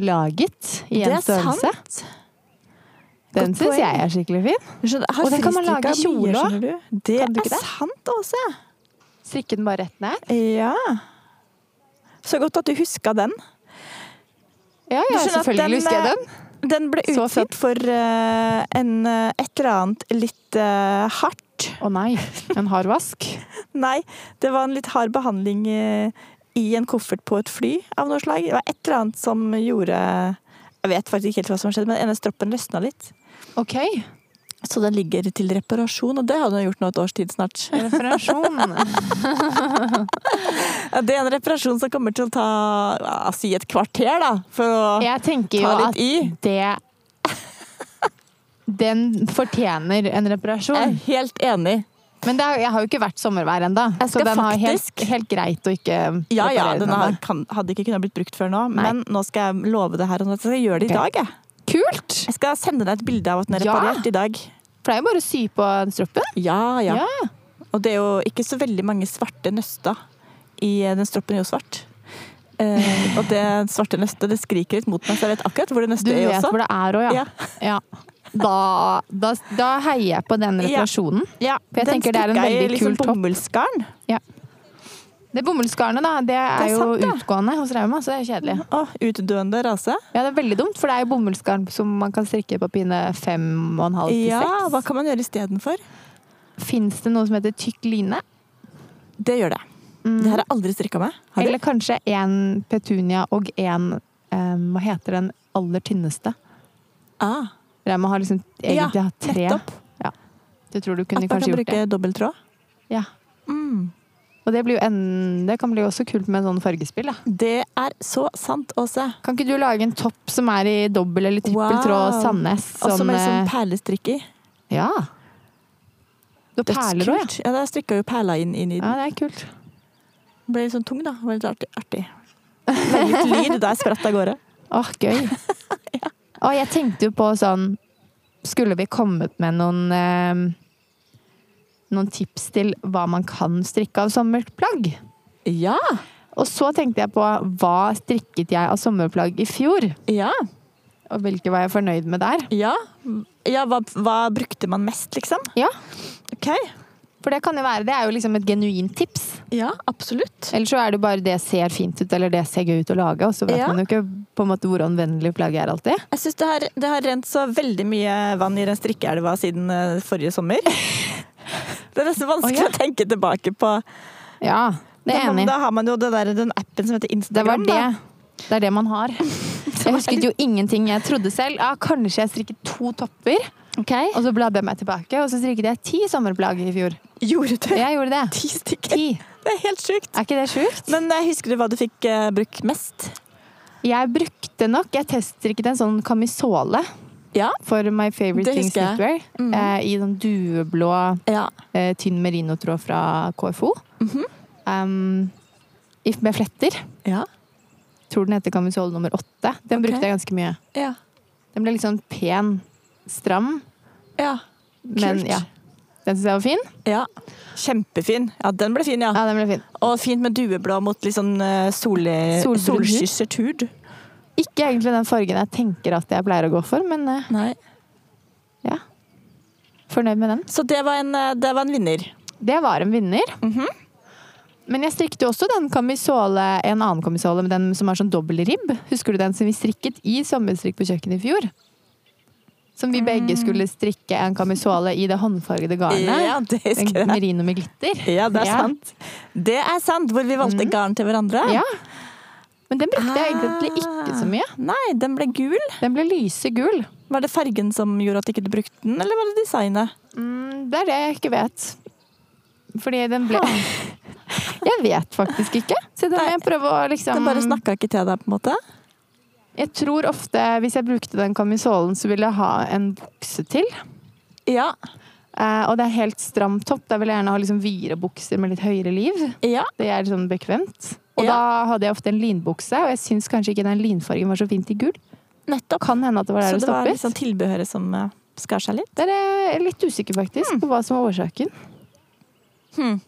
laget i det en er størrelse. sant. Den Godt syns poeng. jeg er skikkelig fin. Jeg skjønner, jeg har Og den kan man fristrikka lage kjole mye, også. skjønner du. Det Kan du er ikke det? sant, Åse. Strikke den bare rett ned. Ja. Så godt at du huska den. Ja, ja, skjønner at den, selvfølgelig husker jeg eh, den. Den ble Så utgitt for eh, en, eh, et eller annet litt eh, hardt Å nei, en hard vask. Nei, det var en litt hard behandling eh, i en koffert på et fly av noe slag. Det var et eller annet som gjorde Jeg vet faktisk ikke helt hva som skjedde, men den ene stroppen løsna litt. Ok, Så den ligger til reparasjon, og det har den gjort nå et års tid snart. referasjon. Ja, det er en reparasjon som kommer til å ta ja, si et kvarter, da. For å Jeg tenker jo ta at litt i. det Den fortjener en Jeg er reparasjon. helt enig. Men det er, jeg har jo ikke vært sommervær ennå, Jeg så skal den har helt, faktisk- helt greit å ikke Ja ja, reparere den har, ennå. kan, hadde ikke kunnet blitt brukt før nå, Nei. men nå skal jeg love det her og nå. Så skal jeg gjøre det i Ok. dag, jeg. Kult! Jeg skal sende deg et bilde av at den er Ja. reparert i dag. For det er jo bare å sy på stroppen. Ja, ja Og det er jo ikke så veldig mange svarte nøster i Den stroppen er jo svart. Eh, og det svarte nøstet det skriker litt mot meg, så jeg vet akkurat hvor det Du nøstet er vet også. hvor det er òg, ja. Ja. ja. Da, da, da heier jeg på den Ja. reparasjonen. Ja, For jeg den tenker det er en strikka i liksom veldig kul topp. bomullsgarn. Det bomullsgarnet, da, det er, Det er jo sant, ja. utgående hos Rauma, så det er kjedelig. Å, utdøende rase. Ja, det er veldig dumt, for det er jo bomullsgarn som man kan strikke på pinne fem og en halv til Ja, hva seks. kan man gjøre istedenfor? Fins det noe som heter tykk line? Det gjør det. Det her har jeg aldri strikka med. Har du? Mm. Eller kanskje én petunia og én Hva heter den aller tynneste? Ah, Jeg må ha liksom egentlig Ja, ha tre. nettopp. Ja. Du tror du at kunne man kanskje kan gjort bruke det. dobbelttråd. Ja. Mm. Og det, blir jo en, det kan bli også kult med sånn fargespill. Da. Det er så sant, Åse. Kan ikke du lage en topp som er i dobbel eller trippel Wow. tråd Sandnes? Og som sånn, er sånn eh, perlestrikk i. Ja. Du har perler òg, ja. Dødskult. Ja, da strikka jo perla inn, inn i den. ja. Det er kult. Den Ble litt sånn tung, da. Det var litt artig. artig. Veldig lyd der spratt av gårde. Åh, gøy. Og jeg tenkte jo på sånn Skulle vi kommet med noen eh, ehm, noen tips til hva man kan strikke av sommerplagg. Ja. Og så tenkte jeg på hva strikket jeg av sommerplagg i fjor? Ja. Og hvilke var jeg fornøyd med der? Ja, ja hva, hva brukte man mest, liksom? Ja, Ok. For det kan jo være, det er jo liksom et genuint tips. Ja, absolutt. Eller så er det bare det ser fint ut, eller det ser gøy ut å lage, og så vet Ja. man jo ikke på en måte hvor anvendelig plagget er alltid. Jeg syns det, har- det har rent så veldig mye vann i den strikkeelva siden eh, forrige sommer. Det er nesten vanskelig Å, ja. å tenke tilbake på. Ja, det er Da- jeg enig. i. Da har man jo det der, den appen som heter Det var Instagram. det. da. Det er det man har. Jeg husket jo ingenting jeg trodde selv. Ja, kanskje jeg strikket to topper, og så bladde jeg meg tilbake, og så strikket jeg ti sommerplagg i fjor. Gjorde du Jeg gjorde det. ti stykker? Ti. Det er helt sjukt. Er ikke det sjukt? Men eh, husker du hva du fikk eh, brukt mest? Jeg brukte nok, jeg teststrikket en sånn kamisole Ja. for My Favorite Det Things husker jeg. Knitwear, Mhm. eh, i sånn dueblå Ja. eh, tynn merinotråd fra KFO. um, if- med fletter. Ja. Tror den heter kamisole nummer åtte. Den Ok. brukte jeg ganske mye. Ja. Den ble litt sånn pen, stram, ja. men Kult. ja. Den syns jeg var fin. Ja. Kjempefin. Ja, den ble fin, ja. Ja, den ble fin. Og fint med dueblå mot litt sånn eh, sole, Solbrun hud. solskysset hud. Ikke egentlig den fargen jeg tenker at jeg pleier å gå for, men eh, Nei. ja. Fornøyd med den. Så det var en, eh, det var en vinner. Det var en vinner. Mhm. Men jeg strikket jo også den kamisole, en annen kamisole, men den som har sånn dobbel ribb. Husker du den som vi strikket i sommerstrikk på kjøkkenet i fjor? Som vi begge skulle strikke en kamisole i det håndfargede garnet. Mm. Ja, det husker En jeg. merino med glitter. Ja, det er Ja. sant. Det er sant, hvor vi valgte garn til hverandre. Mm. Ja. Men den brukte jeg egentlig Ah. ikke så mye. Nei, den ble gul. Den ble lysegul. Var det fargen som gjorde at ikke du brukte den, eller var det designet? Mm, det er det jeg ikke vet. Fordi den ble Jeg vet faktisk ikke. Så da må jeg prøve å liksom Den bare snakka ikke til deg, på en måte? Jeg tror ofte, hvis jeg brukte den kamisolen, så ville jeg ha en bukse til. Ja. Eh, og det er helt stram topp. Da vil jeg gjerne ha liksom videre bukser med litt høyere liv. Ja. Det er liksom bekvemt. Og Ja. da hadde jeg ofte en linbukse, og jeg syns kanskje ikke den linfargen var så fint i gul. Nettopp. Kan hende at det var Så der det det var stoppet. liksom tilbehøret som eh, skar seg litt? Der er jeg litt usikker faktisk på hva som var årsaken. Hmm.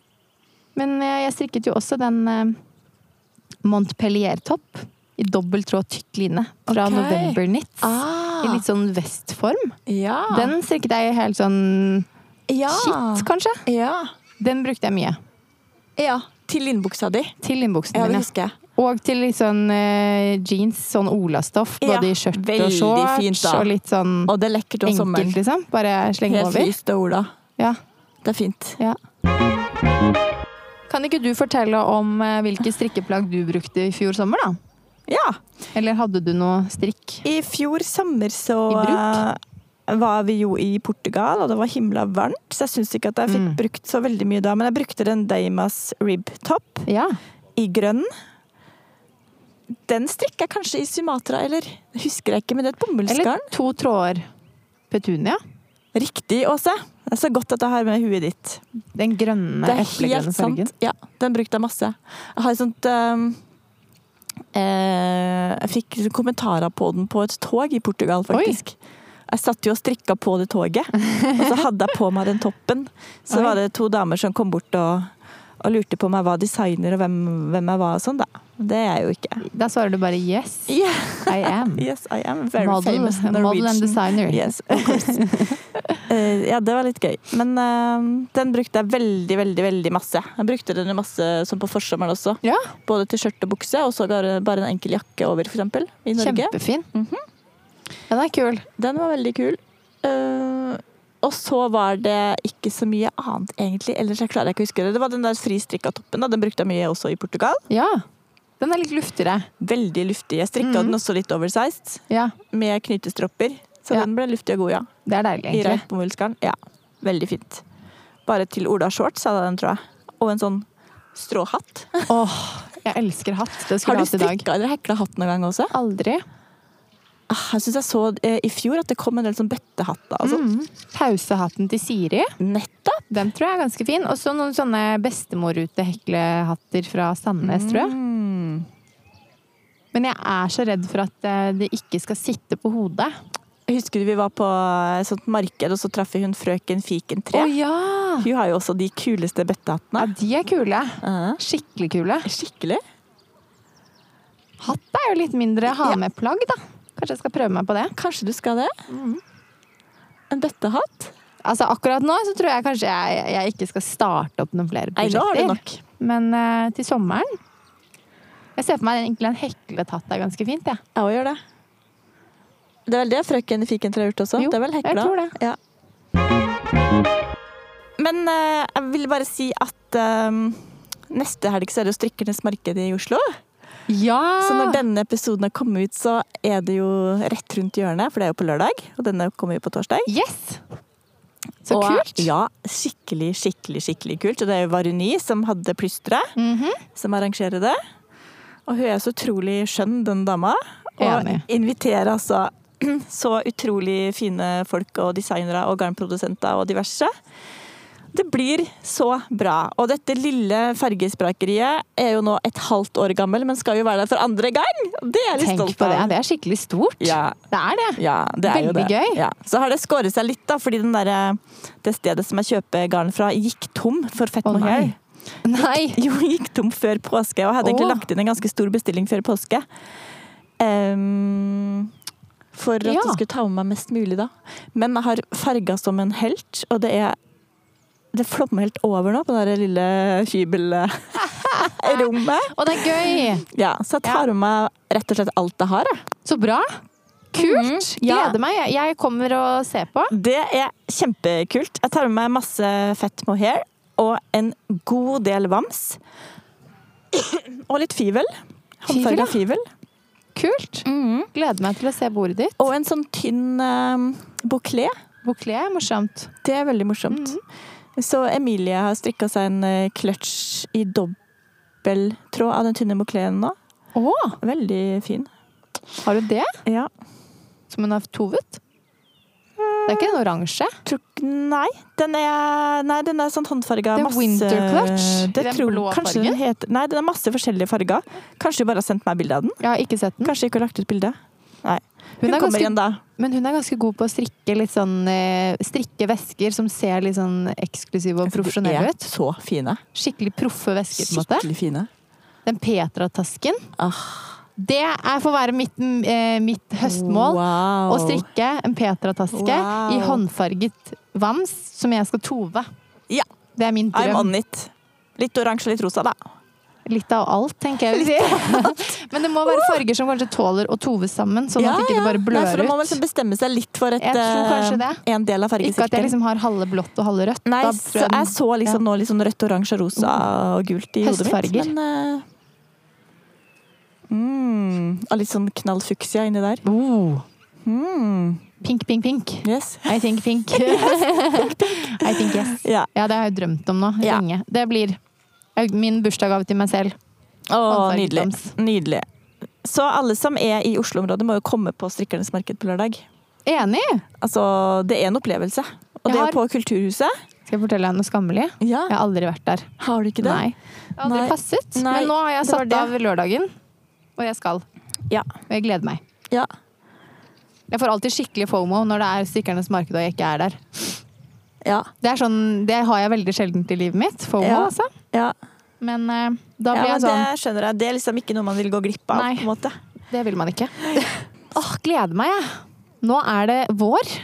Men eh, jeg strikket jo også den eh, Montpellier-topp i dobbel tråd tykk line fra Ok. November Knits. I Ah, litt sånn vestform. ja. Den strikket jeg helt sånn ja. Shit, kanskje. Ja. Den brukte jeg mye. ja. Til linbuksa di. Til innbuksen Ja, det min. husker jeg. ja. Og til litt sånn eh, jeans, sånn olastoff. Ja, både i skjørt og veldig shorts. fint, da. og litt sånn Og det er lekkert om enkelt, sommeren. liksom. Bare slenge Helt over. lyst og Ola. Ja, Det er fint. ja. Kan ikke du fortelle om eh, hvilke strikkeplagg du brukte i fjor sommer, da? Ja. Eller hadde du noe strikk? I fjor sommer så I eh, var vi jo i Portugal, og det var himla varmt, så jeg syns ikke at jeg Mm. fikk brukt så veldig mye da. Men jeg brukte den Deimas ribtop Ja. i grønn. Den strikker jeg kanskje i Sumatra, eller? Det husker jeg ikke, men det er et Eller bomullsgarn. to tråder petunia. Riktig, Åse. Det er så godt at jeg har med huet ditt. Den grønne, det er helt eplegrønne fargen. sant. Ja, den brukte jeg masse. Jeg har et sånt eh, eh, Jeg fikk kommentarer på den på et tog i Portugal, faktisk. Jeg satt jo og strikka på det toget, og så hadde jeg på meg den toppen. Så Oi. var det to damer som kom bort og, og lurte på om jeg var designer og hvem, hvem jeg var og sånn, da. Det er jeg jo ikke. Da svarer du bare 'yes, Yeah. I am'. Yes, I am very Model, famous model and Norwegian. designer. Yes, of course. Eh, ja, det var litt gøy. Men eh, den brukte jeg veldig, veldig veldig masse. Jeg brukte den jo masse som på forsommeren også. Ja, Både til skjørt og bukse, og så bare bare en enkel jakke over, for eksempel, i Norge. Mhm. Kjempefin. Ja, den er kul. Den var veldig kul. Eh, og så var det ikke så mye annet, egentlig. Ellers jeg klarer jeg ikke å huske det. Det var den der fristrikka toppen. da. Den brukte jeg mye også i Portugal. Ja. Den er litt luftigere. Veldig luftig. Jeg strikka Mhm. den også litt oversized, Ja, med knytestropper. Så Ja. den ble luftig og god, ja. det er deilig, I egentlig. røyk på Mullskallen. Ja, veldig fint. Bare til Ola Shorts hadde jeg den, tror jeg. Og en sånn stråhatt. Åh, jeg elsker hatt. Det Har skulle jeg du hatt i dag. strikka eller hekla hatt noen gang også? Aldri. Ah, Jeg syns jeg så eh, i fjor at det kom en del sånn bøttehatter. Altså. Mm. Pausehatten til Siri, Mm. Nettopp! den tror jeg er ganske fin. Og så noen sånne bestemorrute-heklehatter fra Sandnes, tror jeg. Mm. Men jeg er så redd for at eh, det ikke skal sitte på hodet. Jeg husker vi var på et sånt marked, og så traff vi hun frøken Fiken 3. Å ja! Hun har jo også de Ja, kuleste bøttehattene. de er kule. Ja. Skikkelig kule. Skikkelig. Hatt er jo litt mindre ha Ja. med plagg, da. Kanskje jeg skal prøve meg på det. Kanskje du skal det? En bøttehatt? Altså Akkurat nå så tror jeg kanskje jeg, jeg ikke skal starte opp noen flere Nei, nå har prosjekter. du nok. Men eh, til sommeren Jeg ser for meg egentlig en heklet hatt er ganske fint. Ja. Jeg òg gjør det. Det er vel det frøken Fiken 3 har gjort også? Jo, det er vel jeg hekla? tror det. Ja. Men eh, jeg vil bare si at eh, neste helg så er det jo Strikkernes marked i Oslo. ja. Så når denne episoden har kommet ut, så er det jo rett rundt hjørnet, for det er jo på lørdag. Og denne kommer jo på torsdag. Yes! Så og, kult. Ja, skikkelig, skikkelig, skikkelig kult. Og det er jo Varuni som hadde plystret, Mhm. som arrangerer det. Og hun er så utrolig skjønn, den dama. Og Enig. inviterer altså så utrolig fine folk og designere og garnprodusenter og diverse. Det blir så bra. Og dette lille fargesprakeriet er jo nå et halvt år gammel, men skal jo være der for andre gang! Og Det er jeg litt Tenk stolt på det. av. Det er skikkelig stort. Ja. Det er det. Ja, det er jo det. Veldig gøy. Ja. Så har det skåret seg litt, da, fordi den der, eh, det stedet som jeg kjøper garn fra, gikk tom for fett Å, mohair. nei. Nei! Jo, gikk tom før påske, og hadde egentlig Å. lagt inn en ganske stor bestilling før påske. Ehm, for at Ja. jeg skulle ta med meg mest mulig, da. Men jeg har farga som en helt, og det er det flommer helt over nå på det der lille hybelrommet. Og det er gøy! Ja, så jeg tar med meg rett og slett alt jeg har. Jeg. Så bra! Kult! Mhm, ja. Gleder meg. Jeg- Jeg kommer og ser på. Det er kjempekult. Jeg tar med meg masse fett mohair og en god del vams. Og litt Fivel, fivel. ja. Håndfarga fivel. Mm. Kult! Gleder meg til å se bordet ditt. Og en sånn tynn um, bouclé. Bouclé er morsomt. Det er veldig morsomt. Så Emilie har strikka seg en eh, clutch i dobbelttråd av den tynne boucléen nå. Å, Veldig fin. har du det? Ja. Som hun har tovet? Det er ikke en oransje. Tror, ikke- nei, den er, nei, den er sånn håndfarga. Det er masse- winter clutch, Det den tror, blå kanskje fargen. den heter, nei, den er masse forskjellige farger. Kanskje hun bare har sendt meg bilde av den. Jeg har ikke sett den. Kanskje ikke har lagt ut bilde. Nei. Mm. Hun Hun, er kommer ganske- igjen da. Men hun er ganske god på å strikke litt sånn eh, Strikke vesker som ser litt sånn eksklusive og profesjonelle ut. Så fine. Skikkelig proffe vesker, på en måte. Skikkelig Ah. fine. Den Petra-tasken. Det er, får være mitt, eh, mitt høstmål. Wow. Å strikke en Petra-taske Wow. i håndfarget vams som jeg skal tove. Ja. Det er min I'm drøm. on it. Litt oransje og litt rosa, da. Litt av alt, tenker jeg. vi sier. Men det må være farger som kanskje tåler å tove sammen, sånn at ikke det bare Nei, for blør da må man ut. liksom bestemme seg litt for et, Jeg tror eh, kanskje det. en del av Ikke at jeg fargesirkelen. liksom har halve blått og halve rødt. Nei, Da tror så jeg den- jeg så liksom nå litt sånn rødt, oransje, rosa og gult i hodet mitt. Høstfarger. Men, eh, mm, og litt sånn knall fuksia inni der. Oh, Mm, pink, pink, pink. yes. I think pink. I think yes. Ja. Ja, det har jeg drømt om nå Ja. lenge. Det blir min bursdagsgave til meg selv. Å, Håndfarget nydelig. vams. Nydelig. Så alle som er i Oslo-området, må jo komme på Strikkernes marked på lørdag. Enig! Altså, det er en opplevelse. Og Jeg det har- er på Kulturhuset. Skal jeg fortelle deg noe skammelig? Ja. Jeg har aldri vært der. Har du ikke det? Nei. Jeg har aldri Nei. passet. Nei, Men nå har jeg det var satt det. av lørdagen, og jeg skal. Ja. Og jeg gleder meg. ja. Jeg får alltid skikkelig fomo når det er Strikkernes marked og jeg ikke er der. Ja. Det, er sånn, det har jeg veldig sjeldent i livet mitt. Fomo, Ja. altså. ja. Men eh, da ja blir men jeg sånn det skjønner jeg. Det er liksom ikke noe man vil gå glipp av. Nei. på en måte. Det vil man ikke. Åh, gleder meg, jeg. Nå er det vår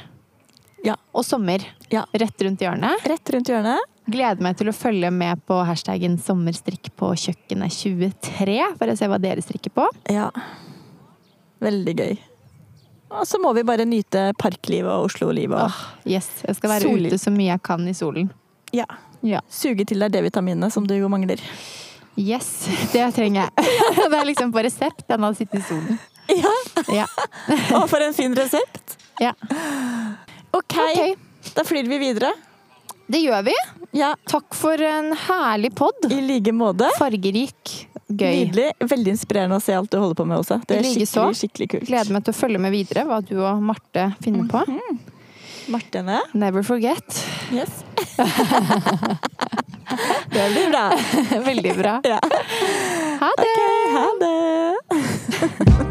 Ja. og sommer Ja. rett rundt hjørnet. Rett rundt hjørnet. Gleder meg til å følge med på hashtaggen 'sommerstrikk på kjøkkenet 23', for å se hva dere strikker på. Ja. Veldig gøy. Og så må vi bare nyte parklivet og Oslo-livet. Ah. og- Yes, Jeg skal være Solen. ute så mye jeg kan i solen. Ja. Ja. Suge til deg D-vitaminene som du jo mangler. Yes, det trenger jeg. Det er liksom på resept, den å sitte i solen. Ja. Ja. Og for en fin resept! ja. OK, Ok, da flyr vi videre. det gjør vi. Ja, Takk for en herlig pod. I like måte. Fargerik, gøy. Nydelig. Veldig inspirerende å se alt du holder på med også. Det I er like så. skikkelig, skikkelig kult. Gleder meg til å følge med videre hva du og Marte finner på. Mhm. Martene. Never forget. Yes. det blir bra. Veldig bra. Ja. Ha det! Ok, ha det.